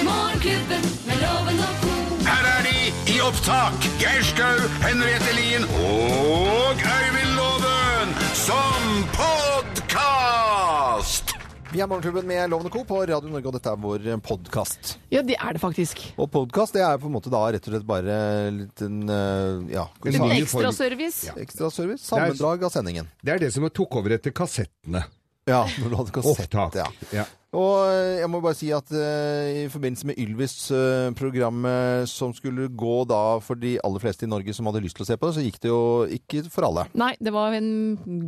Morgenklubben med loven og ko. Her er de i opptak. Geir Skau, Henriette Lien og Øyvind Loven som podkast! Vi er Morgenklubben med Loven og Co. på Radio Norge, og dette er vår podkast. Ja, det er det faktisk. Og podkast er jo på en måte da rett og slett bare litt en eh, ja, En En ny ekstra form. service. ekstraservice. Sammendrag av sendingen. Det er det som tok over etter kassettene. Ja, når du hadde kassett. Opptak. Ja. Ja. Og eh, jeg må bare si at eh, i forbindelse med Ylvis-programmet som skulle gå da for de aller fleste i Norge som hadde lyst til å se på det, så gikk det jo ikke for alle. Nei, det var en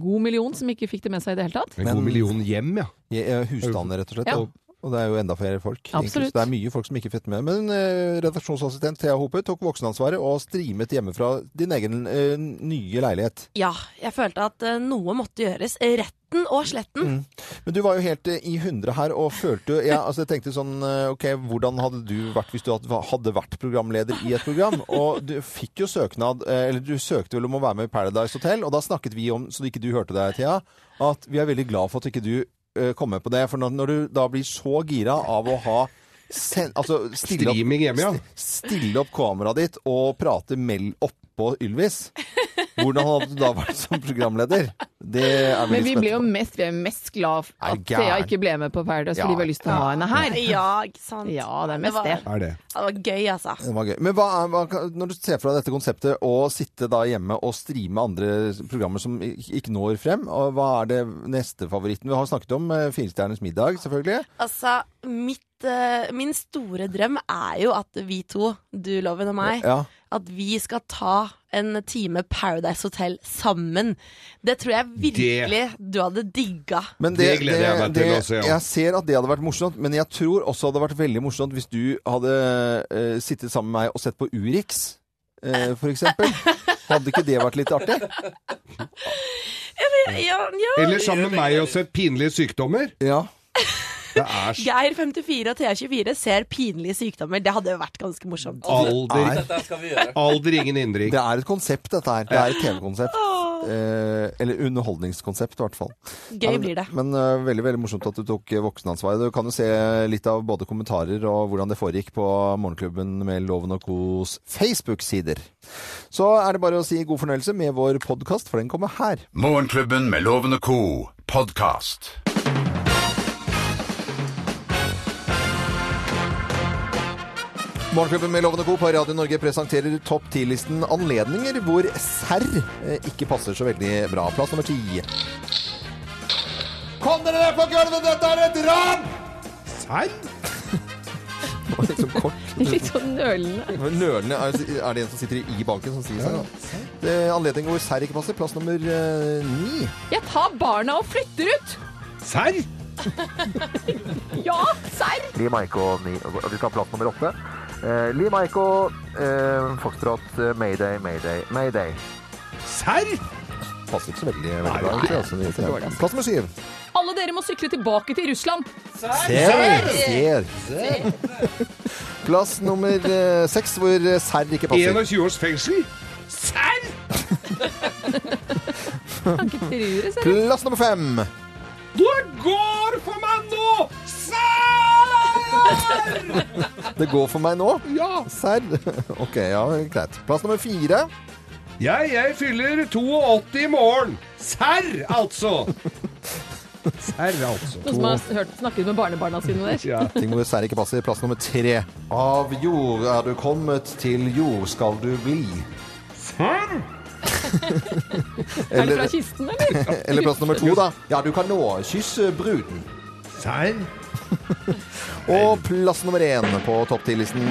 god million som ikke fikk det med seg i det hele tatt. En Men- god million hjem, ja. I, eh, Husstander, rett og slett. Ja. Og- Og det er jo enda flere folk. egentlig, Absolutt. Så det er mye folk som ikke fikk med. Men eh, redaksjonsassistent Thea Hope tok voksenansvaret og streamet hjemmefra din egen eh, nye leilighet. Ja, jeg følte at eh, noe måtte gjøres. Retten og sletten. Mm. Men du var jo helt eh, i hundre her og følte jo ja, altså Jeg tenkte sånn eh, OK, hvordan hadde du vært hvis du hadde hadde vært programleder i et program? Og du fikk jo søknad eh, Eller du søkte vel om å være med i Paradise Hotel, og da snakket vi om, så ikke du hørte det, Thea, at vi er veldig glad for at ikke du eh, kom med på det. For når, når du da blir så gira av å ha sen, altså, stille opp, Streaming hjemme, ja. stille opp kameraet ditt og prate mell oppå Ylvis Hvordan hadde du da vært som programleder? Det er Men veldig vi spent ble jo på. mest, vi er mest glad for Er at du gæren? Thea ikke ble med på Paradise, Ja. fordi vi har lyst til å ha henne her. Ja, ikke sant. Ja, det er mest var, det. Er det. Det var gøy, altså. Det var gøy. Men hva er, hva, kan- når du ser for deg dette konseptet, å sitte da hjemme og streame andre programmer som ik- ikke når frem, og hva er det neste favoritten? Vi har snakket om eh, Firestjerners middag, selvfølgelig. Altså, mitt, eh, min store drøm er jo at vi to, du Loven og meg, Ja. at vi skal ta en time Paradise Hotel sammen. Det tror jeg virkelig du hadde digga. Men Det gleder jeg meg til det- å se, ja. Jeg ser at det hadde vært morsomt, men jeg tror også det hadde vært veldig morsomt hvis du hadde eh, sittet sammen med meg og sett på Urix, eh, for eksempel. Hadde ikke det vært litt artig? Ja, ja. Eller sammen med meg og sett pinlige sykdommer. Ja. Det er så Geir 54 og Thea 24 ser pinlige sykdommer. Det hadde jo vært ganske morsomt. alder, Er, alder ingen innring. det er et konsept, dette her. Det er et TV-konsept. Eh, eller underholdningskonsept, i hvert fall. Gøy blir det. Men øh, veldig veldig morsomt at du tok øh, voksenansvaret. Du kan jo se litt av både kommentarer og hvordan det foregikk på Morgenklubben med Loven og Kos Facebook-sider. Så er det bare å si god fornøyelse med vår podkast, for den kommer her. Morgenklubben med Loven og co. podkast. Morgenklubben med Loven og Co. på Radio Norge presenterer topp 10-listen anledninger hvor serr eh, ikke passer så veldig bra. Plass nummer ti. Kom dere ned på gulvet, dette er et ran! Serr? Det var litt sånn kort. Litt sånn nølende. Men Nølende er, er det en som sitter i banken som sier seg. da. Det er anledning hvor serr ikke passer. Plass nummer eh, ni. Jeg tar barna og flytter ut! Serr? Ja, serr! Lee Maiko ni, og Vi skal ha plass nummer åtte. Eh, Lee Maiko, eh, Foxtrot, eh, Mayday, Mayday, Mayday. Serr? Passer ikke så veldig, veldig bra. Nei, nei, egentlig, altså, det- dårlig, altså. Plass nummer syv. Alle dere må sykle tilbake til Russland. Ser! Ser! Plass nummer eh, seks, hvor eh, serr ikke passer. 21 års fengsel? Serr? Trure, serr. Plass nummer fem. Du går for meg nå! Serr? Det går for meg nå. Ja. Serr. OK, ja, greit. Plass nummer fire. Jeg, jeg fyller 82 i morgen. Serr, altså. Serr, altså. Noen som har hørt, snakket med barnebarna sine om det. Ja. Ting hvor serr ikke passer. Plass nummer tre. Av jord er du kommet, til jord skal du bli. Serr? Er det fra kisten, eller? Eller plass nummer to, da. Ja, du kan nå kysse bruden. Serr? Og plass nummer én på topp ti-listen.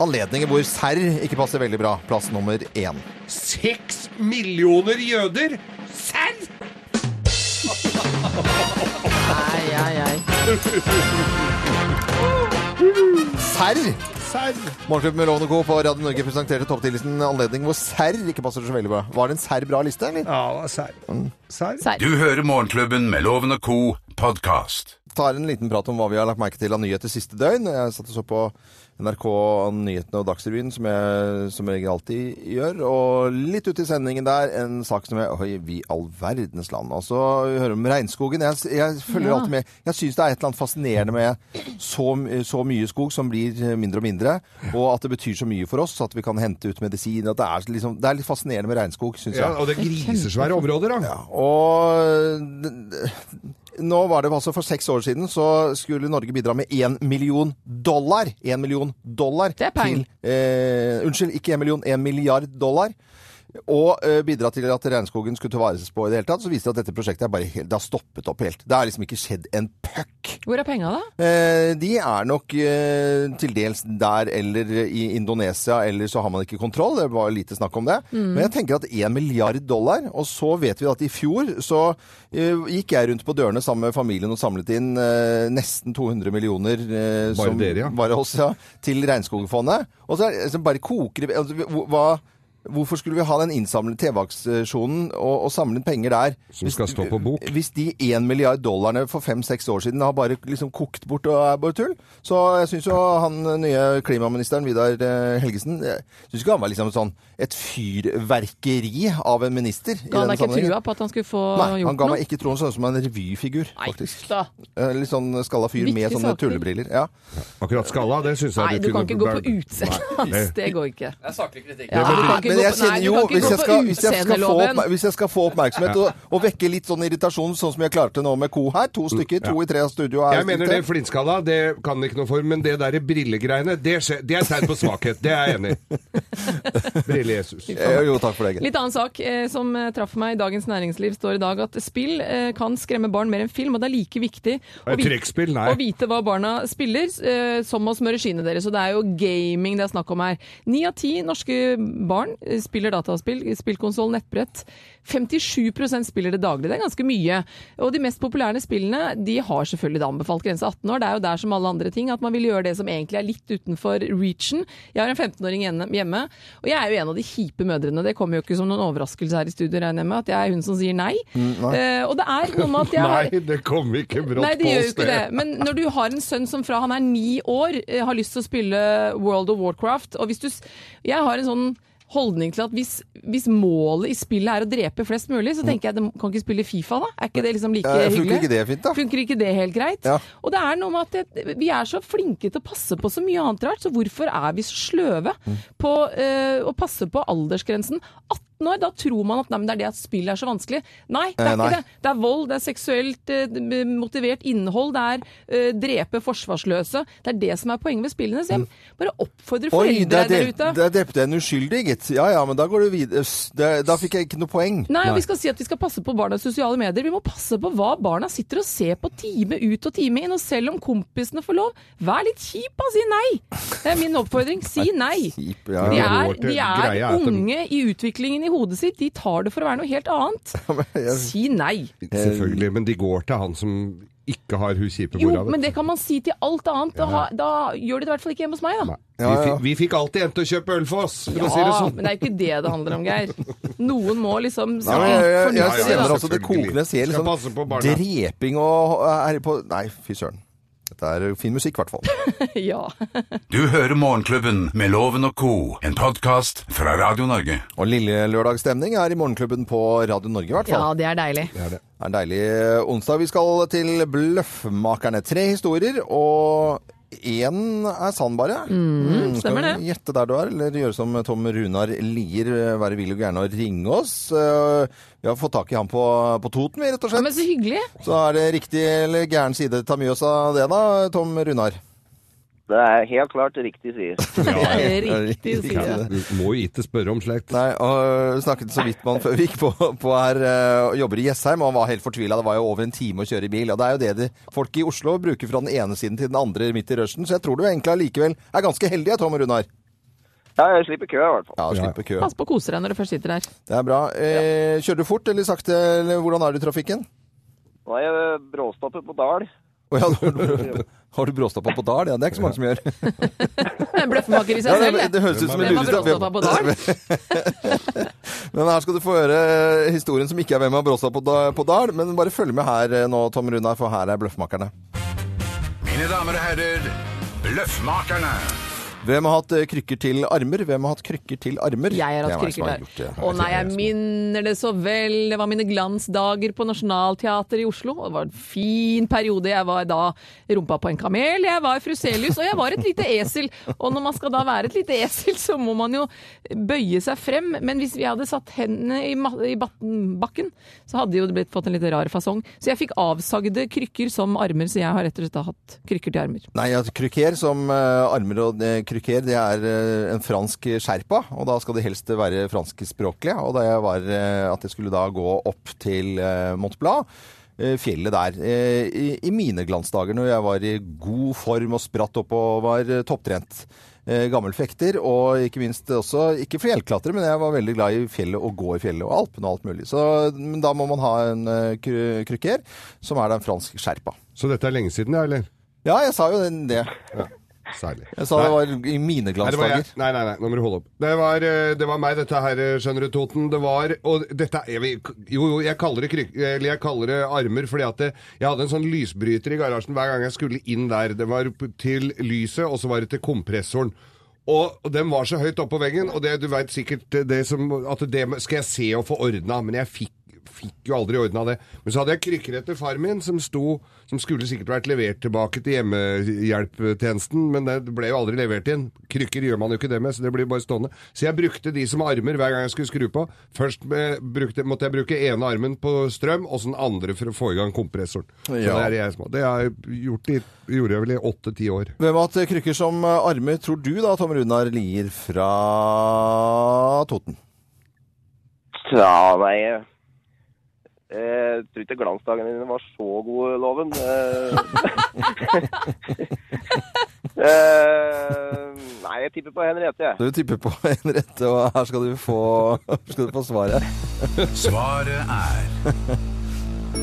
Anledninger hvor serr ikke passer veldig bra. Plass nummer én. Seks millioner jøder? Serr? Nei, nei, nei. Serr! Serr? Morgenklubben med Loven og Co. på Radio Norge presenterte topp ti-listen anledning hvor serr ikke passer så veldig bra. Var det en serr bra liste, eller? Mm. Ja, serr. Serr? Serr. Du hører Morgenklubben med Loven og co. podkast. tar en liten prat om hva vi har lagt merke til av nyheter siste døgn. Jeg satt og så på NRK Nyhetene og Dagsrevyen, som jeg som regel alltid gjør. Og litt ute i sendingen der, en sak som jeg Oi, vi all verdens land. Altså, vi hører om regnskogen. Jeg, jeg følger Ja. alltid med. Jeg syns det er et eller annet fascinerende med så, m- så mye skog som blir eh, mindre og mindre, og at det betyr så mye for oss at vi kan hente ut medisin. At det er, liksom, det er litt fascinerende med regnskog, syns jeg. Ja, og det er grisesvære områder, da. Og d- d- nå var det altså for seks år siden så skulle Norge bidra med én million dollar. En million dollar er penger. til eh, Unnskyld, ikke en million, en milliard dollar. Og eh, bidra til at regnskogen skulle tilvares på i det hele tatt. Så viste det at dette prosjektet er bare helt, det har stoppet opp helt. Det har liksom ikke skjedd en puck. Hvor er penga, da? Eh, de er nok eh, til dels der eller i Indonesia, eller så har man ikke kontroll. Det var lite snakk om det. Men jeg tenker at én milliard dollar, og så vet vi at i fjor så eh, gikk jeg rundt på dørene sammen med familien og samlet inn eh, nesten 200 millioner eh, Bare som, dere, ja. bare oss, ja, til Regnskogfondet. Og så er det- så bare koker det altså, hvor- hva, Hvorfor skulle vi ha den innsamlede TV-aksjonen og, og samle inn penger der? Som skal stå på bok. Hvis de 1 milliard dollarene for fem-seks år siden har bare liksom kokt bort og er bare tull, så jeg syns jo han nye klimaministeren Vidar eh, Helgesen jeg synes ikke han var liksom sånn et fyrverkeri av en minister. i Ga han denne deg ikke sammenhengen. trua på at han skulle få Nei, han gjort ga noe? meg ikke troen sånn som en revyfigur, Nei, faktisk. da. Eh, Litt sånn skalla fyr med Viktige sånne saker. tullebriller. Ja. Akkurat skalla, det syns jeg Nei, du kan ikke gå på utseendet Nei, hans. det- Det går ikke. Det er saklig kritikk. Ja, du kan ikke Men gå jeg på, nei, kjenner du jo, kan ikke hvis gå jeg, skal, på hvis, jeg skal få, utseendeloven. oppmer- hvis jeg skal få oppmerksomhet og, og vekke litt sånn irritasjon, sånn som jeg klarte nå med ko her, to stykker, to i tre av studio her. Jeg mener det flintskalla, det kan ikke noe for, men det derre brillegreiene, det, skje- det er tegn på svakhet. Det er jeg enig i. Brille-Jesus. Eh, Jo, takk for det. Geir. Litt annen sak eh, som eh, traff meg i Dagens Næringsliv står i dag at spill eh, kan skremme barn mer enn film, og det er like viktig å, Eh, vit- trekkspill, nei. å vite hva barna spiller eh, som å smøre skinnet deres. Og det er jo gaming det er snakk om her. Ni av ti norske barn eh, spiller dataspill, spillkonsoll, nettbrett. 57 spiller det daglig. Det er ganske mye. Og de mest populære spillene de har selvfølgelig da anbefalt grense 18 år. Det er jo der som alle andre ting at man vil gjøre det som egentlig er litt utenfor reachen. Jeg har en 15-åring igjen- hjemme, og jeg er jo en av de kjipe mødrene. Det kommer jo ikke som noen overraskelse her i studio, regner jeg med, at jeg er hun som sier nei. Eh, og det er noe med at jeg har Nei, det kom ikke brått Nei, det på gjør jo oss, ikke det. Men når du har en sønn som fra han er ni år eh, har lyst til å spille World of Warcraft og hvis du, s- Jeg har en sånn holdning til at hvis, hvis målet i spillet er å drepe flest mulig, så tenker jeg at kan ikke spille Fifa, da? Er ikke det liksom like Ja, funker hyggelig? ikke Mm. det fint, da? Funker ikke det helt greit? Ja. Og det er noe med at det, vi er så flinke til å passe på så mye annet rart, så hvorfor er vi så sløve Mm. på eh, å passe på aldersgrensen? 18 år, da tror man at nei, men det er det at spill er så vanskelig. Nei, det er Eh, nei. ikke det. Det er vold, det er seksuelt eh, d- motivert innhold, det er eh, drepe forsvarsløse. Det er det som er poenget med spillene. Så jeg bare oppfordrer Mm. Oi, foreldre der der, drep, ute. der drepte jeg en uskyldig, gitt. Ja ja, men da går du videre. S- det- Da fikk jeg ikke noe poeng. Nei, og vi skal si at vi skal passe på barnas sosiale medier. Vi må passe på hva barna sitter og ser på time ut og time inn. Og selv om kompisene får lov, vær litt kjip og si nei. Det er min oppfordring. Si nei. Kjip, ja. De ja. er, Vår de er greie er at de- unge i utviklingen i hodet sitt. De tar det for å være noe helt annet. Si nei. Selvfølgelig, men de går til han som ikke har hun kjipe Jo, mora. vet men du. det kan man si til alt annet. Da, ha- da gjør de det i hvert fall ikke hjemme hos meg, da. Nei. Vi, Ja, ja. fikk, vi fikk alltid en til å kjøpe øl for oss, for å si det Ja, sånn. men det er jo ikke det det handler om, Geir. Noen må liksom si Nei, men jeg, jeg, Ja, jeg ja, kjenner ja, altså det selvfølgelig. kokende ser Skal passe på liksom barna. dreping og er på Nei, fy søren. Dette er fin musikk, i hvert fall. Ja. Du hører Morgenklubben med Loven og co., en podkast fra Radio Norge. Og lille lørdagsstemning er i morgenklubben på Radio Norge, i hvert ja, fall. det er deilig. Det er en deilig eh, onsdag. Vi skal til Bløffmakerne. Tre historier, og én er sann, bare. Mm, Mhm, skal stemmer det. vi Gjette der du er, eller gjøre som Tom Runar Lier, være vill og gæren og ringe oss. Eh, Vi har fått tak i han på, på Toten, vi, rett og Ja, slett. men så hyggelig. Så er det riktig eller gæren side ta mye oss av det, da, Tom Runar. Det er helt klart riktig side. Riktig side. Du må jo ikke spørre om slikt. Nei, og snakket så vidt man før vi gikk på, på her eh, og jobber i Jessheim, og han var helt fortvila. Det var jo over en time å kjøre i bil. Og det er jo det de, folk i Oslo bruker fra den ene siden til den andre midt i rushen, så jeg tror du egentlig allikevel er ganske heldig, Tom Runar. Ja, jeg slipper kø i hvert fall. Ja, slipper kø. Pass på å kose deg når du først sitter der. Det er bra. Eh, kjører du fort eller sakte, eller hvordan er du i trafikken? Nå er jeg bråstoppet på Dal. Å ja, har du, har du bråstoppa på Dal? Ja, det er ikke så mange som gjør. Det er en bløffmaker i Ja, seg det, selv. det høres ut som en Hvem har lurestraff. bråstoppa på dalen? Men her skal du få høre eh, historien som ikke er hvem har bråstoppa på, Da- på Dal, men bare følg med her eh, nå, Tom Runar, for her er Bløffmakerne. Mine damer og herrer, Bløffmakerne. Hvem har hatt eh, krykker til armer? Hvem har hatt krykker til armer? Jeg har Det hatt er meg som krykker har der. gjort det. Å nei, jeg minner det så vel. Det var mine glansdager på Nationaltheatret i Oslo. og Det var en fin periode. Jeg var da rumpa på en kamel, jeg var Fruselius, og jeg var et lite esel. Og når man skal da være et lite esel, så må man jo bøye seg frem. Men hvis vi hadde satt hendene i, ma- i batten, bakken, så hadde jo det blitt fått en litt rar fasong. Så jeg fikk avsagde krykker som armer, så jeg har rett og slett da hatt krykker til armer. Nei, at krykker som eh, armer og eh, krykker, det er eh, en fransk sherpa, og da skal det helst være franskspråklig. Og da jeg var eh, at jeg skulle da gå opp til eh, Mont Blanc, eh, fjellet der, eh, i, i mine glansdager når jeg var i god form og spratt opp og var eh, topptrent. Eh, Gammel fekter, og ikke minst også ikke fjellklatre, men jeg var veldig glad i fjellet og gå i fjellet og Alpene og alt mulig. Så men da må man ha en eh, kry- krykker, som er da en fransk sherpa. Så dette er lenge siden, ja, eller? Ja, jeg sa jo den- det. Særlig. Jeg sa det var i mine Nei, det var jeg. glansdager. Nei, nei, nei, nå må du holde opp. Det var, eh, det var meg, dette her, eh, skjønner du, Toten. Det var Og dette er vi- Jo, jo, jeg kaller det, kryk, eller jeg kaller det armer, fordi at det, jeg hadde en sånn lysbryter i garasjen hver gang jeg skulle inn der. Det var p- til lyset, og så var det til kompressoren. Og og den var så høyt oppå veggen, og det, du veit sikkert det- det som, at det skal jeg se og få ordna, men jeg fikk fikk jo aldri ordna det. Men så hadde jeg krykker etter far min, som sto Som skulle sikkert vært levert tilbake til hjemmehjelptjenesten, men det ble jo aldri levert inn. Krykker gjør man jo ikke det med, så det blir bare stående. Så jeg brukte de som armer hver gang jeg skulle skru på. Først eh, brukte, måtte jeg bruke ene armen på strøm, og så den andre for å få i gang kompressoren. Så Ja. det er jeg som har Det har jeg gjort i, gjorde jeg vel i åtte-ti år. Hvem har hatt krykker som eh, armer, tror du da, Tom Runar Lier fra Toten? Ja, nei eh, Jeg tror ikke glansdagene dine var så gode, Loven. Eh, eh, Nei, jeg tipper på Henriette, jeg. Du tipper på en rette, og her skal du få, skal du få svaret. Svaret er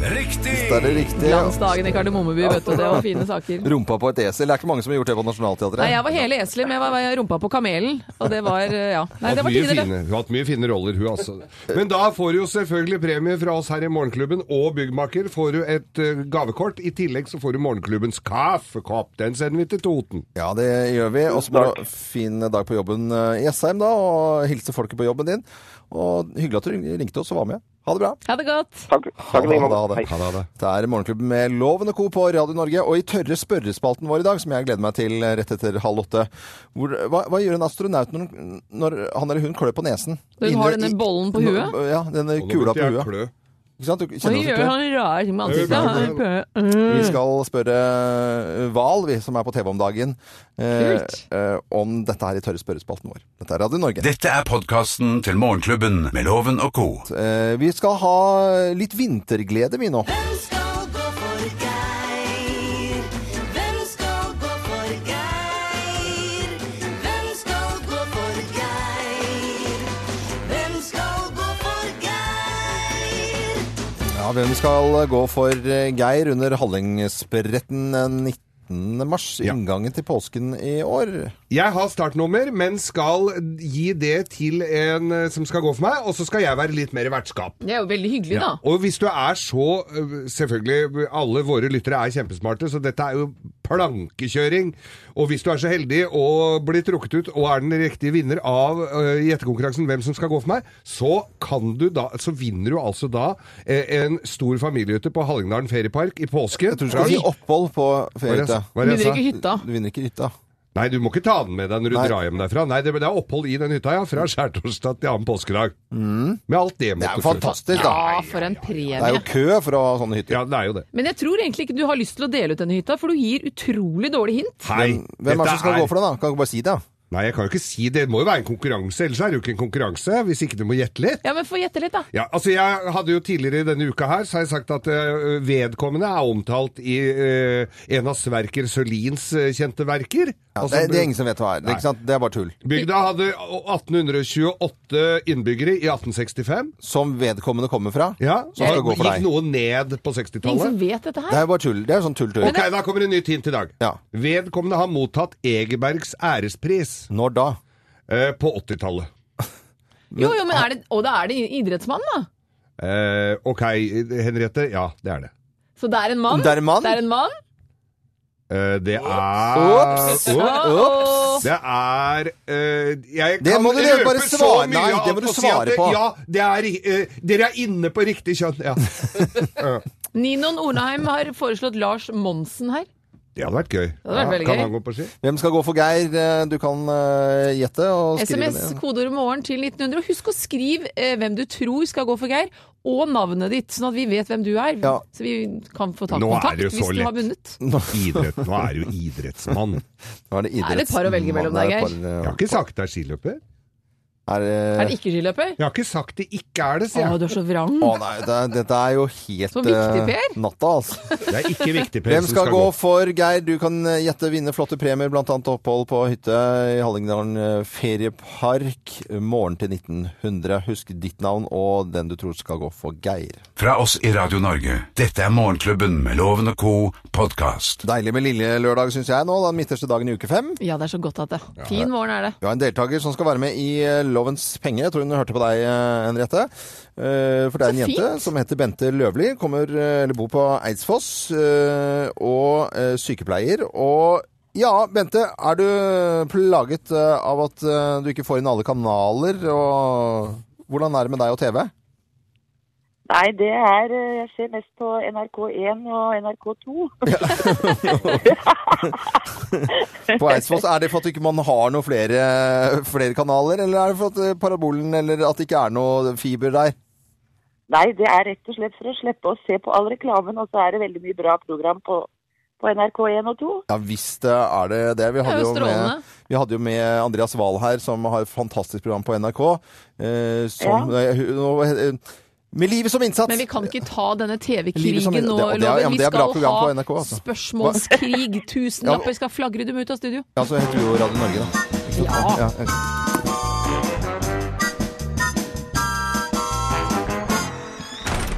Riktig! Da er det riktig. Glansdagen i Kardemommeby, vet du. Det var fine saker. Rumpa på et esel. Det er ikke mange som har gjort det på Nationaltheatret. Nei, jeg var hele eselet, men jeg var jeg rumpa på kamelen. Og det var eh, Ja. Nei, det Hatt var mye tider, det. fine, hun har hatt mye fine roller, hun altså. Men da får du jo selvfølgelig premie fra oss her i Morgenklubben, og Byggmaker får du et eh, gavekort. I tillegg så får du Morgenklubbens kaffekopp. Den sender vi til Toten. Ja, det gjør vi. Og så må du ha fin dag på jobben eh, i Jessheim, da, og hilse folket på jobben din. Og hyggelig at du ringte oss og var med. Ha det bra. Ha det godt. Takk. Ha takk det, like ha måte. det, ha det. Hei. Ha det, ha det. Det er Morgenklubben med Loven og Co. på Radio Norge. Og i tørre spørrespalten vår i dag, som jeg gleder meg til rett etter halv åtte hvor, hva, hva gjør en astronaut når, når han eller hun klør på nesen? Når hun har Inne i- denne bollen på huet? Nå- Ja, denne Og nå kula begynte på jeg huet. å klø. Ikke sant? Du Og kjenner at du gjør klør. sånne rare ting med Jeg ansiktet. Vi skal spørre eh, Val, vi som er på TV om dagen, eh, Kult. eh, om dette her i tørre spørrespalten vår. Dette er Radio Norge. Dette er podkasten til Morgenklubben med Loven og co. Eh, vi skal ha litt vinterglede, vi nå. Hvem skal gå for Geir? Hvem skal gå for Geir? Hvem skal gå for Geir? Hvem skal gå for Geir? Ja, hvem skal gå for eh, Geir under Hallingsbretten eh, 19. mars? Ja. Inngangen til påsken i år. Jeg har startnummer, men skal gi det til en eh, som skal gå for meg, og så skal jeg være litt mer vertskap. Det er jo veldig hyggelig, da. Og hvis du er så øh, Selvfølgelig, alle våre lyttere er kjempesmarte, så dette er jo plankekjøring. Og hvis du er så heldig og blir trukket ut og er den riktige vinner av øh, gjettekonkurransen Hvem som skal gå for meg, så kan du da Så vinner du altså da eh, en stor familiehytte på Hallingdalen feriepark i påsken. Jeg tror du skal si opphold på feriehytta. Hva er Begynner det jeg sa? ikke hytta. Du vinner ikke hytta. Nei, du må ikke ta den med deg når du Nei. drar hjem derfra. Nei, det, det er opphold i den hytta, ja. Fra skjærtorsdag til annen påskedag. Med alt det Mm. Det er jo måtte fantastisk, da. Ja, for en Det er premie. jo kø for å ha sånne hytter. Ja, det er jo det. Men jeg tror egentlig ikke du har lyst til å dele ut denne hytta, for du gir utrolig dårlig hint. Hei, Hvem er det dette som skal gå for det, da? Kan du ikke bare si det? da? Nei, jeg kan jo ikke si det. Det må jo være en konkurranse, ellers er det jo ikke en konkurranse. Hvis ikke du må gjette litt. Ja, men få gjette litt, da. Ja, altså Jeg hadde jo tidligere i denne uka her, så har jeg sagt at eh, vedkommende er omtalt i eh, en av Sverker Sørlins eh, kjente verker. Ja, Altså, det, det er ingen som vet hva det er. Det er, ikke sant? det er bare tull. Bygda hadde 1828 innbyggere i 1865. Som vedkommende kommer fra, Ja, som skal og gå for Gikk deg. noe ned på Ingen som 60-tallet. vet dette Det her. er jo bare tull. Det er jo sånn tull-tull. Ok, da kommer en ny hint i dag. Ja. Vedkommende har mottatt Egebergs ærespris Når da? eh, på 80-tallet. Jo, jo, men er det Og da er det idrettsmann, da. Eh, ok, Henriette. Ja, det er det. Så det er en mann. Det er en mann? Det er en mann. Eh, det Ops! er Ops! Det er eh, jeg kan Det må du røpe bare så svare- mye nei, at det må du å si at svare det- på. Ja, det er, eh, dere er inne på riktig kjønn. Ja. Ninon Ornheim har foreslått Lars Monsen her. Det hadde vært gøy. hadde vært veldig kan gøy. han gå på ski? Hvem skal gå for Geir? Eh, Du kan eh, gjette og skrive SMS, ned. kodeord morgen til 1900. Og husk å skrive eh, hvem du tror skal gå for Geir, og navnet ditt, sånn at vi vet hvem du er. Ja. Så vi kan få ta Nå er kontakt det jo hvis så du har lett. vunnet. Idrett. Nå er du idrettsmann. Nå er det Er det et par å velge mellom idrettsmann. der, Det er et Geir? par, eh, Jeg har ikke sagt det er skiløper. Er, Er det det ikke skiløper? Jeg har ikke sagt det ikke er det, sier Å, jeg. du er så vrang. Å nei, det, er- dette er jo helt Så viktig, eh, Per. natta, altså. Det er ikke viktig. Per, Hvem som skal gå for Geir? Du kan eh, gjette vinne flotte premier, bl.a. opphold på hytte i Hallingdalen eh, feriepark eh, morgen til 1900. Husk ditt navn og den du tror skal gå for Geir. Fra oss i Radio Norge, dette er Morgenklubben med Loven og Co. podkast. Deilig med lille lørdag, syns jeg nå. Den midterste dagen i uke fem. Ja, det er så godt at det. Fin morgen er det. Vi har en deltaker som skal være med i eh, Lovens penger. Jeg tror hun hørte på deg, eh, Henriette. Eh, For det er en Så jente fint. som heter Bente Løvli, kommer, eh, eller bor på Eidsfoss, eh, og eh, sykepleier. Og ja, Bente, er du plaget eh, av at eh, du ikke får inn alle kanaler? Og hvordan er det med deg og TV? Nei, det er eh, Jeg ser mest på NRK1 og NRK2. På Eidsfoss, er det for at ikke man ikke har noen flere, eh, flere kanaler, eller er det for at eh, parabolen, eller at det ikke er noe fiber der? Nei, det er rett og slett for å slippe å se på all reklamen, og så er det veldig mye bra program på, på NRK1 og 2. Ja visst eh, er det det. Vi hadde, jo jo med, strålende. vi hadde jo med Andreas Wahl her, som har et fantastisk program på NRK. Eh, som, eh, hun- nå, eh, med livet som innsats! Men vi kan ikke ta denne Livet som- TV-krigen det- nå, og det er- ja, Loven. men det Vi er bra skal program på ha NRK, altså. spørsmålskrig. Tusenlapper skal flagre dem ut av studio. Ja, så heter vi jo Radio Norge, da. Ja. Ja, eh.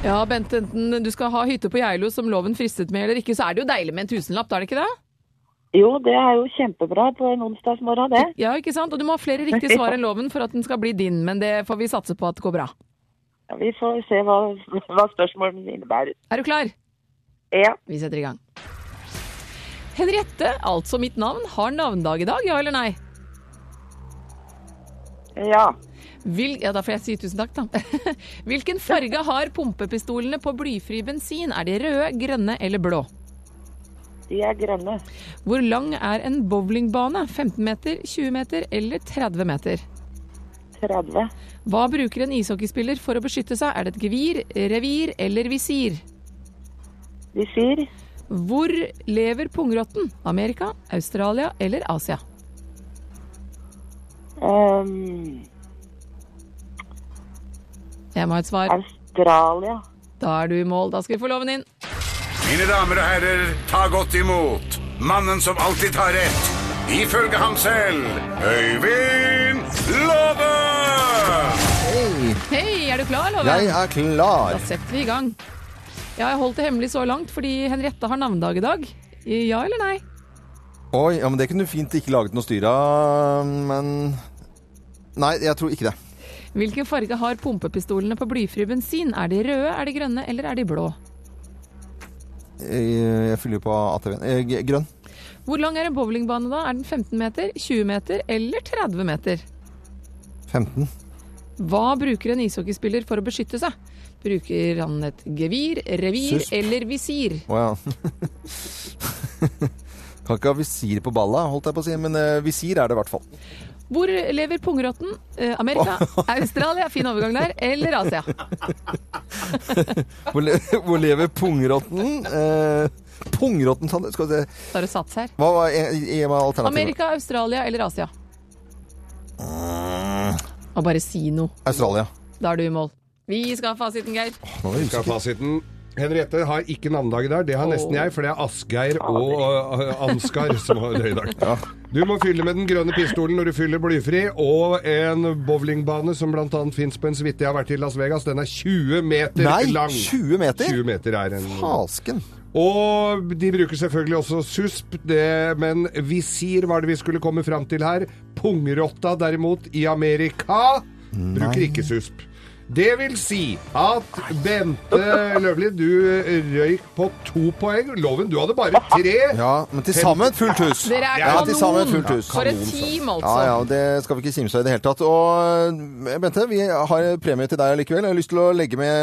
Ja, Bent, enten du skal ha hytte på Geilo som loven fristet med eller ikke, så er det jo deilig med en tusenlapp, er det ikke det? Jo, det er jo kjempebra på en onsdagsmorgen, det. Ja, ikke sant? Og du må ha flere riktige svar enn loven for at den skal bli din, men det får vi satse på at det går bra. Ja, vi får se hva, hva spørsmålene innebærer. Er du klar? Ja, Vi setter i gang. Henriette, altså mitt navn, har navndag i dag, ja eller nei? ja. Hvil ja, da får jeg si tusen takk, da. Hvilken farge har pumpepistolene på blyfri bensin? Er de røde, grønne eller blå? De er grønne. Hvor lang er en bowlingbane? 15 meter, 20 meter eller 30 meter? 30. Hva bruker en ishockeyspiller for å beskytte seg? Er det et gevir, revir eller visir? De sier Hvor lever pungrotten? Amerika, Australia eller Asia? ehm, Jeg må ha et svar. Australia. Da er du i mål. Da skal vi få loven inn. Mine damer og herrer, ta godt imot mannen som alltid tar rett, ifølge ham selv, Øyvind Låve! Hei, Hei, er du klar, Loven? jeg er klar! Da setter vi i gang. Jeg har holdt det hemmelig så langt fordi Henriette har navnedag i dag. Ja eller nei? Oi, ja, men det kunne du fint ikke laget noe styr av, men Nei, jeg tror ikke det. Hvilken farge har pumpepistolene på blyfri bensin? Er de røde, er de grønne eller er de blå? Eh, Jeg, jeg fyller på ATV-en. Eh, g- Grønn. Hvor lang er en bowlingbane da? Er den 15 meter, 20 meter eller 30 meter? 15. Hva bruker en ishockeyspiller for å beskytte seg? Bruker han et gevir, revir Susp. eller visir? Å ja. Kan ikke ha visir på balla, holdt jeg på å si, men eh, visir er det i hvert fall. Hvor lever pungrotten? Eh, Amerika, Australia, fin overgang der, eller Asia? Hvor, le hvor lever pungrotten? Eh, pungrotten, sa du? Skal vi se. Så har du sats her. Hva var gi- gi meg alternativet? Amerika, Australia eller Asia? Og bare si noe. Australia. Da er du i mål. Vi skal ha fasiten, Geir. Nå er jeg Skal usikker. fasiten. Henriette har ikke navnedag i dag. Det har nesten jeg, for det er Asgeir og uh, Ansgar som har det i dag. Du må fylle med den grønne pistolen når du fyller blyfri, og en bowlingbane som bl.a. fins på en suite jeg har vært i Las Vegas. Den er 20 meter Nei, lang. 20 meter? 20 meter er en Fasken. Og de bruker selvfølgelig også susp, det, men visir var det vi skulle komme fram til her. Pungrotta derimot, i Amerika, bruker ikke susp. Det vil si at Bente Løvli, du røyk på to poeng. Loven, du hadde bare tre. Ja, men til sammen fullt hus. Dere er ja, til sammen kanon. fullt hus. For et team, altså. Ja, ja, og det skal vi ikke kimse av i det hele tatt. Og eh, Bente, vi har premie til deg allikevel. Jeg har lyst til å legge med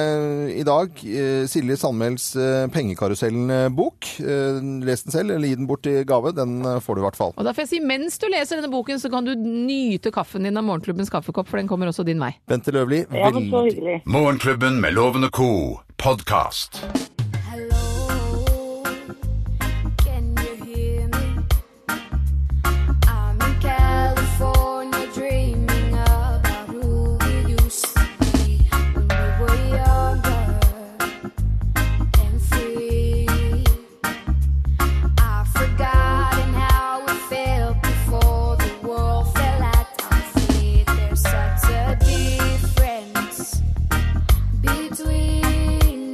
i dag eh, Silje Sandmæls eh, Pengekarusellen-bok. Eh, Les den selv, eller gi den bort i gave. Den eh, får du i hvert fall. Og da får jeg si, mens du leser denne boken, så kan du nyte kaffen din av morgenklubbens kaffekopp, for den kommer også din vei. Bente Løvli, Ja, men så veldig hyggelig. Morgenklubben med Loven og Co. podkast. Hello, can you hear me? I'm in California dreaming about who we used to be when we were younger and free. I've forgotten how it felt before the world fell at our feet. There's such a difference between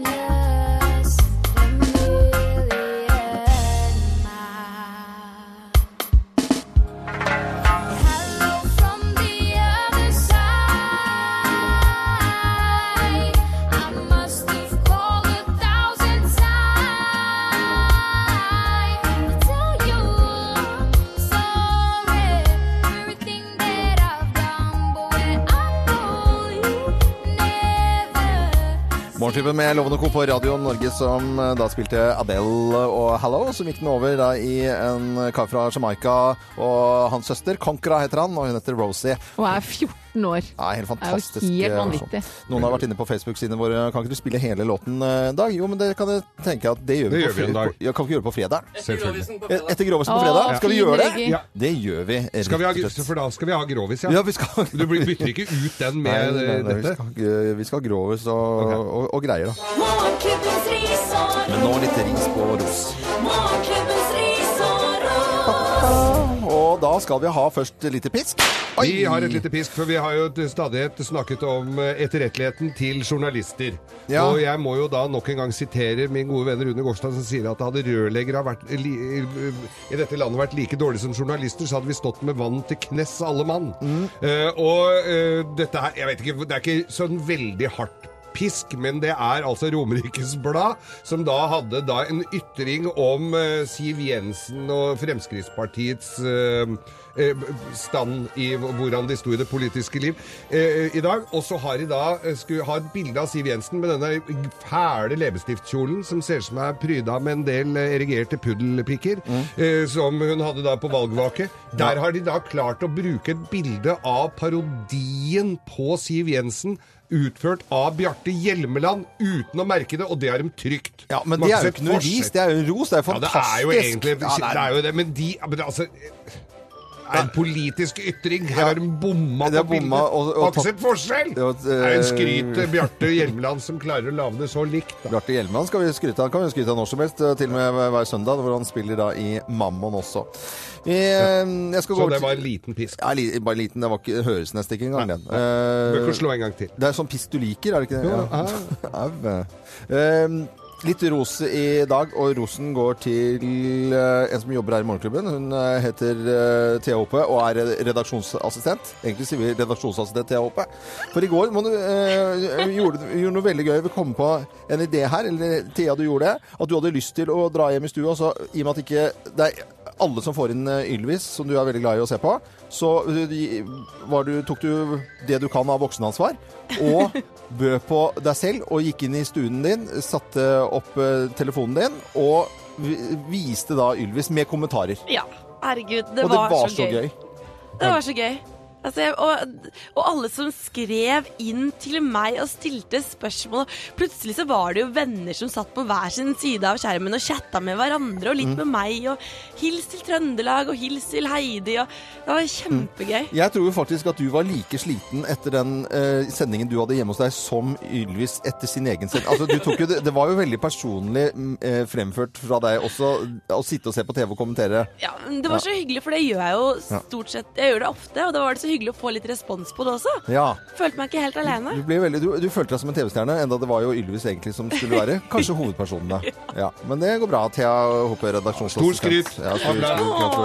us a million miles. Hello from the other side. I must have called a thousand times tell you sorry everything that I've done, but when I call you, never. Morgenklubben med Lovende Co. på Radio Norge, som eh, da spilte Adele og Hallo, som gikk den over da i en kar fra Jamaica og hans søster. Conquera heter han, og hun heter Rosie. Og er 14 år. Ja, helt fantastisk. Det er jo helt eh, vanvittig. sånn. Noen har vært inne på Facebook-sidene våre. Kan ikke du spille hele låten eh, en dag? Jo, men det kan jeg tenke at det gjør vi, Det på, gjør vi en fre- dag. på- ja, kan vi ikke gjøre det på fredag. Selvfølgelig. Eh, Etter Grovisen på Å, fredag. Skal vi fin gjøre det? regi. Ja. Det gjør vi. rett Skal vi ha, og slett. for da skal vi ha grovis, Ja, ja. vi skal Du blir- bytter ikke ut den Nei, med nei, eh, nei, vi dette. skal, eh, vi skal ha Grovis og, og, og greier, da. Morgenklubbens ris og Men nå litt ris på ros. Morgenklubbens ris og ros. Og da skal vi ha først lite pisk. Oi! Vi har et lite pisk, for vi har jo til stadighet snakket om eh, etterretteligheten til journalister. Ja. Og jeg må jo da nok en gang sitere min gode venn Rune Gårdstad, som sier at hadde rørleggere vært, li, eh, i dette landet vært like dårlige som journalister, så hadde vi stått med vann til knes, alle mann. Mm. Eh, og eh, dette her, jeg vet ikke, det er ikke sånn veldig hardt pisk, men det er altså Romerikes Blad, som da hadde da en ytring om eh, Siv Jensen og Fremskrittspartiets eh, eh, stand i hv- hvordan de sto i det politiske liv eh, i dag. Og så har de da eh, skulle ha et bilde av Siv Jensen med denne fæle leppestiftkjolen som ser ut som er pryda med en del eh, erigerte puddelpikker, eh, som hun hadde da på valgvake. Der har de da klart å bruke et bilde av parodien på Siv Jensen utført av Bjarte Hjelmeland uten å merke det, og det har de trygt. Ja, men Man det er har jo ikke ikke sett noe forskjell. ris, det er jo ros. Det er Ja, det fantastisk. er jo egentlig Ja, det er jo det, men de men altså er en politisk ytring. Her har de bomma De på har bildet. bomma og- og Har ikke tatt- sett forskjell! Ja, Det er en skryt til eh, Bjarte Hjelmeland som klarer å lage det så likt. Da. Bjarte Hjelmeland skal vi skryte av. Kan vi skryte av når som helst, eh, til og med hver søndag, hvor han spiller da i Mammon også. Vi, eh, Jeg skal gå Så over det til- var en liten pisk. Ja, li- bare liten. Det var ikke, høres nesten ikke engang, den. Bør ikke Eh, slå en gang til. det er sånn piss du liker, er det ikke det? Jo, Au. Eh, Litt ros i dag, og rosen går til eh, en som jobber her i Morgenklubben. Hun eh, heter eh, Thea Hope og er redaksjonsassistent. Egentlig sier vi redaksjonsassistent Thea Hope. For i går må du, eh, gjorde, gjorde noe veldig gøy. Vi kom på en idé her, eller Thea, du gjorde det. At du hadde lyst til å dra hjem i stua, så i og med at ikke det er alle som får inn eh, Ylvis, som du er veldig glad i å se på, så eh, de- var du, tok du det du kan av voksenansvar, og bød på deg selv, og gikk inn i stuen din, satte opp eh, telefonen din, og vi- viste da Ylvis med kommentarer. Ja, herregud, det, og det var, så, gøy. Det var så gøy. Altså, jeg, og, og alle som skrev inn til meg og stilte spørsmål. Plutselig så var det jo venner som satt på hver sin side av skjermen og chatta med hverandre og litt med meg. Og hils til Trøndelag og hils til Heidi. Og det var kjempegøy. Jeg tror jo faktisk at du var like sliten etter den eh, sendingen du hadde hjemme hos deg, som Ylvis etter sin egen sending. Altså, du tok jo det, det var jo veldig personlig mm, eh, fremført fra deg også, å sitte og se på TV og kommentere. Ja, men det var så hyggelig, for det gjør jeg jo stort sett Jeg gjør det ofte, og da var det så hyggelig å få litt respons på det også. Ja. Følte meg ikke helt alene. Du, ble veldig, du, du følte deg som en TV-stjerne, enda det var jo Ylvis egentlig som skulle være. Kanskje hovedpersonen, da. Ja. Men det går bra, Thea Hoppe, Stor redaksjonsassistent. skryt. Ja, stor skryt. Åh.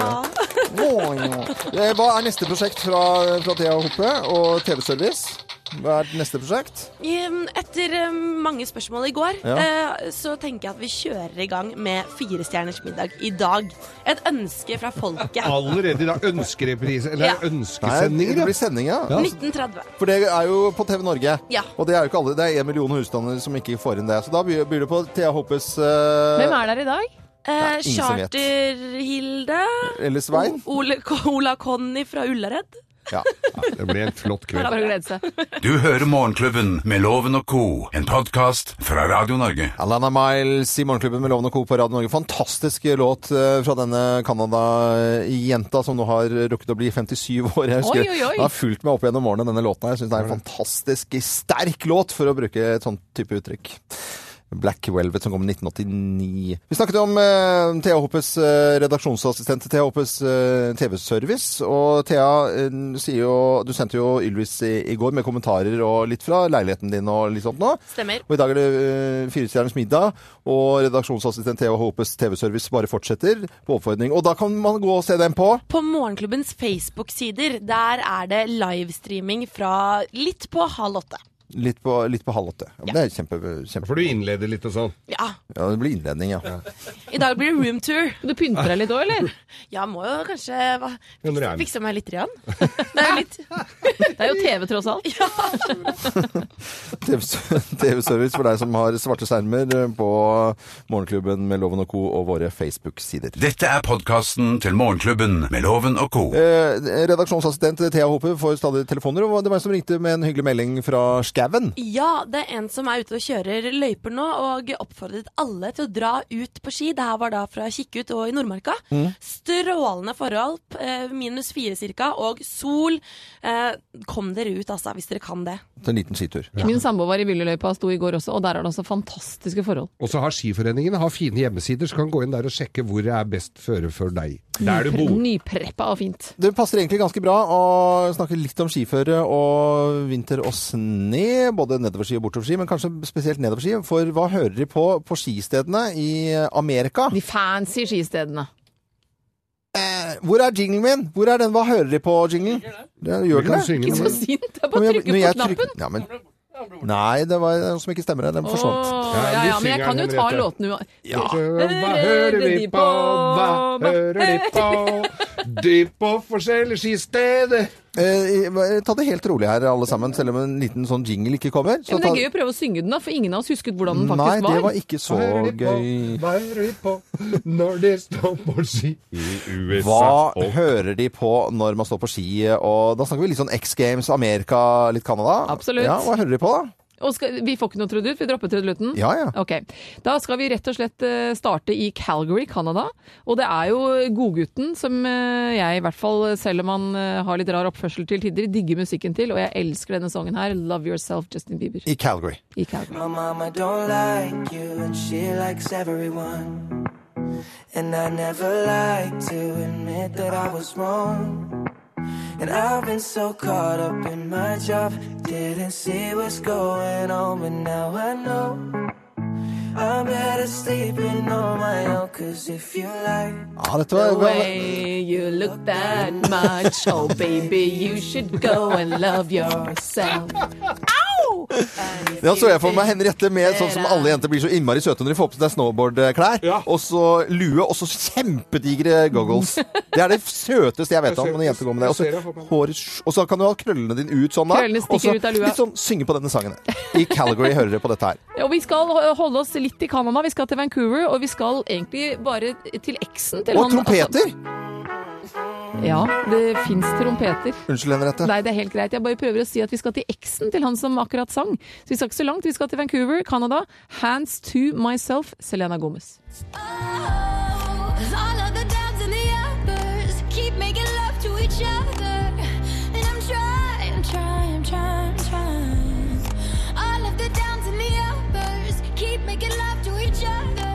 Åh, ja. Eh, Hva er neste prosjekt fra, fra Thea Hoppe og TV-service? Hva er neste prosjekt? Ehm, Etter eh, mange spørsmål i går, Ja. eh, så tenker jeg at vi kjører i gang med Fire stjerners middag i dag. Et ønske fra folket. Allerede i dag. Ønskereprise. Eller Ja. ønskesending, det da. blir sending, ja. 1930. For det er jo på TV Norge. Ja. Og det er jo ikke alle. Det er en million husstander som ikke får inn det. Så da byr byr det på Thea Hoppes eh, Hvem er der i dag? Eh, ingen som vet. Charter-Hilde. Eller Svein. Ole, Ola Conny fra Ullared. Oh. Ja. Det blir en flott kveld. Bare å glede seg. Du hører Morgenklubben med Loven og co., en podkast fra Radio Norge. Alana Miles i Morgenklubben med Loven og Co. på Radio Norge. Fantastisk låt eh, fra denne Canada-jenta som nå har rukket å bli 57 år. Jeg husker Oi, oi, oi. Den har fulgt meg opp gjennom årene, denne låten her. Jeg syns det er en fantastisk sterk låt, for å bruke et sånt type uttrykk. Black Velvet som kom i 1989. Vi snakket om eh, Thea Hoppes eh, redaksjonsassistent til Thea Hoppes eh, TV-service. Og Thea, eh, sier jo, du sendte jo Ylvis i, i går med kommentarer og litt fra leiligheten din og litt sånt nå. Stemmer. Og i dag er det uh, Firestjerners middag, og redaksjonsassistent Thea Hopes TV-service bare fortsetter på oppfordring. Og da kan man gå og se den på. På Morgenklubbens Facebook-sider der er det livestreaming fra litt på halv åtte. Litt på, litt på halv åtte. Ja, men Det er kjempe... kjempe Får du innlede litt og sånn. Ja. ja, det blir innledning, ja. I dag blir det roomtour. Du pynter deg litt òg, eller? Ja, må jo kanskje hva, Ja, når det fikse, er- fikse meg litt. Rian. Det er jo litt Det er jo TV, tross alt. TV-service for deg som har svarte skjermer eh, på Morgenklubben med Loven og Co. og våre Facebook-sider. Dette er podkasten til Morgenklubben med Loven og co. Eh, redaksjonsassistent Thea Hope får stadig telefoner, og det var en som ringte med en hyggelig melding fra Skauen. Ja, det er en som er ute og kjører løyper nå, og oppfordret alle til å dra ut på ski. Det her var da fra Kikkut og i Nordmarka. Strålende forhold, p- eh, minus fire cirka, og sol. Eh, Kom dere ut, altså, hvis dere kan det. En liten skitur. Min samboer var i Willerløypa, sto i går også, og der er det også fantastiske forhold. Og så har Skiforeningen har fine hjemmesider, så kan du gå inn der og sjekke hvor det er best føre for deg. Der du bor. Nypreppa og fint. Det passer egentlig ganske bra å snakke litt om skiføre og vinter og sne, både nedoverski og bortoverski, men kanskje spesielt nedoverski. For hva hører de på på skistedene i Amerika? De fancy skistedene. Eh, Hvor er jinglen min? Hvor er den? Hva hører de på jinglen? Det gjør Kan den du det. synge Ikke noe? så sint! Det er Men bare å jeg- trykke på når jeg knappen. trykker- Ja, men, nei, det var noe som ikke stemmer her. Den forsvant. Åh, ja, Ja, vi ja, men jeg synger kan jo den, ta Henriette. låten ua- Ja. Hva hører vi på? Hva hører de på? De på forskjellige skisteder. Eh, eh, ta det helt rolig her, alle sammen, selv om en liten sånn jingle ikke kommer. Ja, men Så det ta... er gøy å prøve å synge den, da, for ingen av oss husket hvordan den Nei, faktisk det var. var ikke så Hva hører de på? gøy. Hva hører de på når de står på ski i USA? Hva Og hører de på når man står på ski? Og da snakker vi litt sånn X Games, Amerika, litt Canada. Absolutt. Ja, hva hører de på, da? Og skal, vi får ikke noe trudelutt, vi dropper trudelutten? Ja, ja. Ok. Da skal vi rett og slett eh, starte i Calgary, Canada. Og det er jo godgutten som eh, jeg i hvert fall, selv om han eh, har litt rar oppførsel til tider, digger musikken til. Og jeg elsker denne sangen her, 'Love Yourself', Justin Bieber. I Calgary. I Calgary. My mama don't like you, and she likes everyone. And I never like to admit that I was wrong. And I've been so caught up in my job, didn't see what's going on, but now I know. I'm better sleeping on my own, cause if you like, Ja, dette The var, way you look that much, oh baby, you should go and love yourself. Ja, så jeg for meg Henriette med sånn som alle jenter blir så innmari søte når de får på seg snowboardklær. Og så lue, og så kjempedigre goggles. Det er det søteste jeg vet om når jenter går med det. Og så håret, og så kan du ha krøllene dine ut sånn da. Krøllene stikker Og så ut av lua. Litt sånn synge på denne sangen. her. I Calgary hører dere på dette her. Og vi skal holde oss litt i Canada, vi skal til Vancouver, og vi skal egentlig bare til eksen til Og trompeter! Altså, ja, det fins trompeter. Unnskyld, Henriette. Nei, det er helt greit. Jeg bare prøver å si at vi skal til eksen til han som akkurat sang. Så vi skal ikke så langt. Vi skal til Vancouver, Canada. Hands to myself, Selena Gomez. Oh, All of the downs and the uppers keep making love to each other. And I'm trying, trying, trying, trying. All of the downs and the uppers keep making love to each other.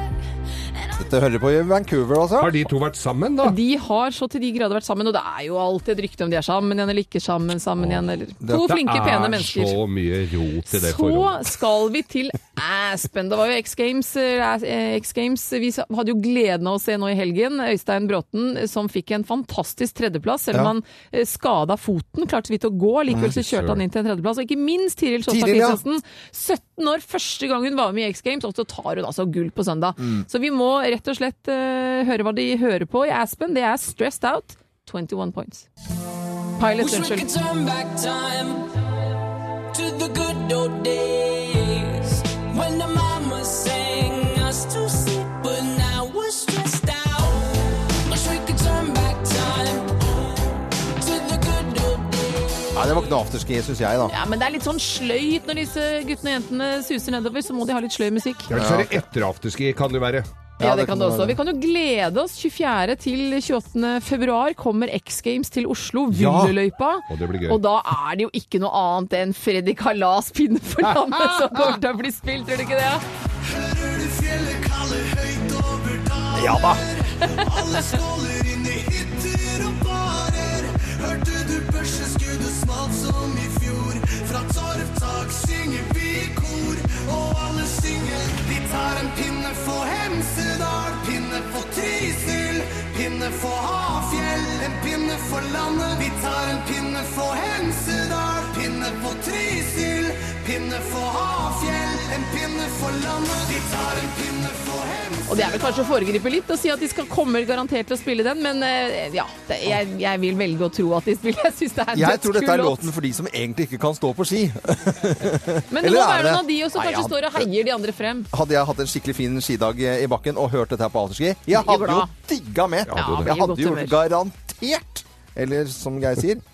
And I'm Dette hører på i Vancouver, altså. Har de to vært sammen, da? De har så til de grader vært sammen, og det er jo alltid et rykte om de er sammen igjen eller ikke sammen, sammen igjen eller To flinke, pene Det mennesker. er så mye rot i det Så forholdet. skal vi til Aspen. Det var jo X Games. eh, X Games. Vi hadde jo gleden av å se nå i helgen Øystein Bråten eh, som fikk en fantastisk tredjeplass, selv om Ja. han eh, skada foten. Klarte så vidt å gå, likevel så kjørte han inn til en tredjeplass. Og ikke minst Tiril Sjåstad Tiril, ja. Kristiansen. 17 år, første gang hun var med i X Games, og så tar hun altså gull på søndag. Mm. Så vi må rett og slett eh, høre hva de hører på i Aspen. Det er Stressed Out, 21 points. Pilot, unnskyld. turn back time to the good old days when the mama sang us to sleep, but now we're stressed out. Wish we could turn back time to the good old days. Nei, det var ikke noe afterski, syns jeg, da. Ja, men det er litt sånn sløyt når disse guttene og jentene suser nedover, så må de ha litt sløy musikk. Ellers er det etter afterski, kan det være. Ja, det det kan kan det være også. det. Vi kan jo glede oss. 24. til 28. februar kommer X Games til Oslo, Ja. Villeløypa. Og det blir gøy. Og da er det jo ikke noe annet enn Freddy Kalas pinne for landet som kommer til å bli spilt, tror du ikke det? ja? Ja da. Og det er vel kanskje å foregripe litt å si at de skal komme garantert til å spille den, men eh, ja, det, jeg, jeg vil velge å tro at de spiller. Jeg syns det er en Jeg tror dette er dødskul låt. låten for de som egentlig ikke kan stå på ski. Men det Eller må er være det- noen av de også som Nei, kanskje ja. står og heier de andre frem. Hadde jeg hatt en skikkelig fin skidag eh, i bakken og hørt dette her på afterski, jeg Blir hadde jo glad. digga med. Ja, blir jeg hadde godt jo humør. garantert Eller som Geir sier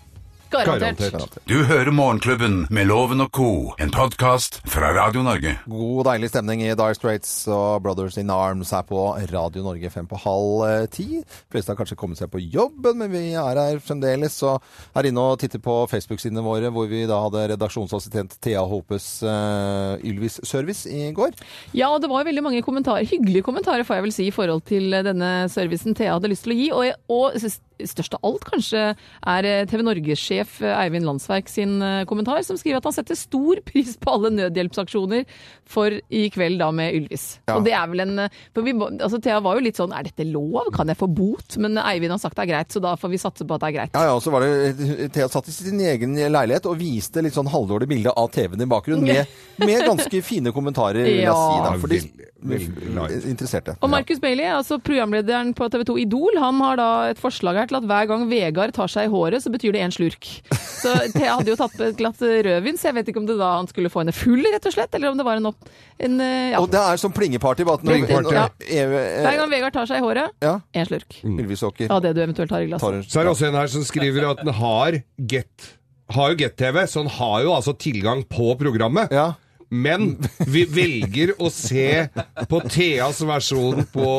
Garantert. Garantert. Du hører Morgenklubben med Loven og co., en podkast fra Radio Norge. God, deilig stemning i Dire Straits og Brothers In Arms her på Radio Norge fem på halv eh, ti. De fleste har kanskje kommet seg på jobben, men vi er her fremdeles. Og er inne og titter på Facebook-sidene våre, hvor vi da hadde redaksjonsassistent Thea Hopes eh, Ylvis-service i går. Ja, og det var veldig mange kommentarer, hyggelige kommentarer får jeg vel si, i forhold til eh, denne servicen Thea hadde lyst til å gi. Og, og størst av alt kanskje er eh, TV Norge-sjef eh, Eivind Landsverk sin eh, kommentar, som skriver at han setter stor pris på alle nødhjelpsaksjoner for i kveld da med Ylvis. Og det er vel en eh, for vi, må- altså, Thea var jo litt sånn er dette lov, kan jeg få bot? Men Eivind har sagt det er greit, så da får vi satse på at det er greit. Ja, ja, og så var det Thea satt i sin egen leilighet og viste litt sånn halvdårlig bilde av TV-en i bakgrunnen, med, med ganske fine kommentarer, vil jeg si. Da, Ja. for de Veldig, veldig light. interesserte. Og Ja. Marcus Bailey, altså programlederen på TV 2 Idol, han har da et forslag her til at hver gang Vegard tar seg i håret, så betyr det én slurk. Så Thea hadde jo tatt med et glatt rødvin, så jeg vet ikke om det da han skulle få henne full, rett og slett, eller om det var en opp... En, eh, ja. Og det er som plingeparty. Bare at når, Plingeparty. når, Ja. Eve, Hver gang Vegard tar seg i håret, E- Ja. én slurk. Ylvisåker. Av det du eventuelt har i Mm. Tar glasset. en- Så er det også en her som skriver at den har Get har jo Get-TV, så den har jo altså tilgang på programmet. Ja. Men vi velger å se på Theas versjon på,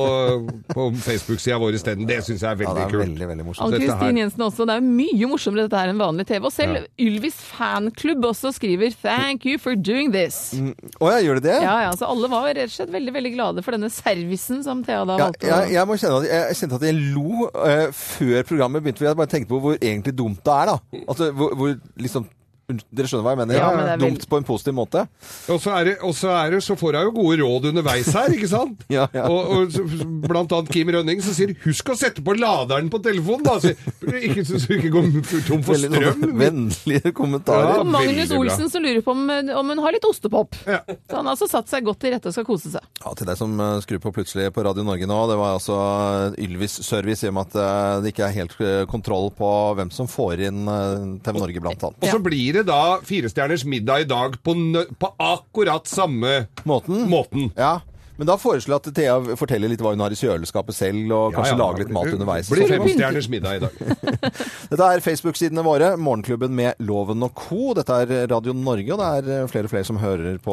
på Facebook-sida vår isteden. Det syns jeg er ja, veldig det er kult. veldig, veldig morsomt. dette her- Ann-Kristin Jensen også, det er jo mye morsommere dette her enn vanlig TV. Og selv Ylvis fanklubb også skriver 'thank you for doing this'. Å ja, gjør det det? Ja, ja, så alle var rett og slett veldig, veldig glade for denne servicen som Thea da Ja, valgte. å- jeg, jeg, må kjenne at, jeg kjente at jeg lo eh, før programmet begynte. for Jeg bare tenkte på hvor egentlig dumt det er, da. Altså, hvor, hvor liksom Dere skjønner hva jeg mener? Ja, men det er Dumt veldig- på en positiv måte. Og så er det, og så er det, så får jeg jo gode råd underveis her, ikke sant? Ja, ja. Og, og så- blant annet Kim Rønning som sier 'husk å sette på laderen på telefonen', da. Så ikke, så du ikke går tom for Veldig sånne strøm. vennlige kommentarer. Ja. Og Magnus Veldig bra. Olsen som lurer på om, om hun har litt ostepop. Ja. Så han har altså satt seg godt til rette og skal kose seg. Ja, til deg som eh, skrur på plutselig på Radio Norge nå, det var altså Ylvis Service, i og med at eh, det ikke er helt eh, kontroll på hvem som får inn eh, TV Norge, blant annet. Og så blir det da Firestjerners middag i dag på, nø på akkurat samme Måten? måten. Ja, men da foreslår jeg at Thea forteller litt hva hun har i kjøleskapet selv, og kanskje lager litt mat underveis. Blir Så- Femstjerners middag i dag. Dette er Facebook-sidene våre, Morgenklubben med Loven og Co. Dette er Radio Norge, og det er eh, flere og flere som hører på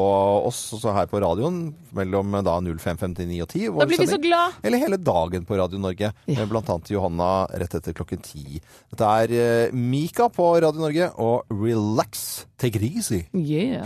oss også her på radioen mellom eh, da 05.59 og 10. vår Da blir vi så sending. glad. Eller hele dagen på Radio Norge, med blant annet Johanna rett etter klokken 10. Dette er eh, Mika på Radio Norge og Relax Take it easy. Yeah.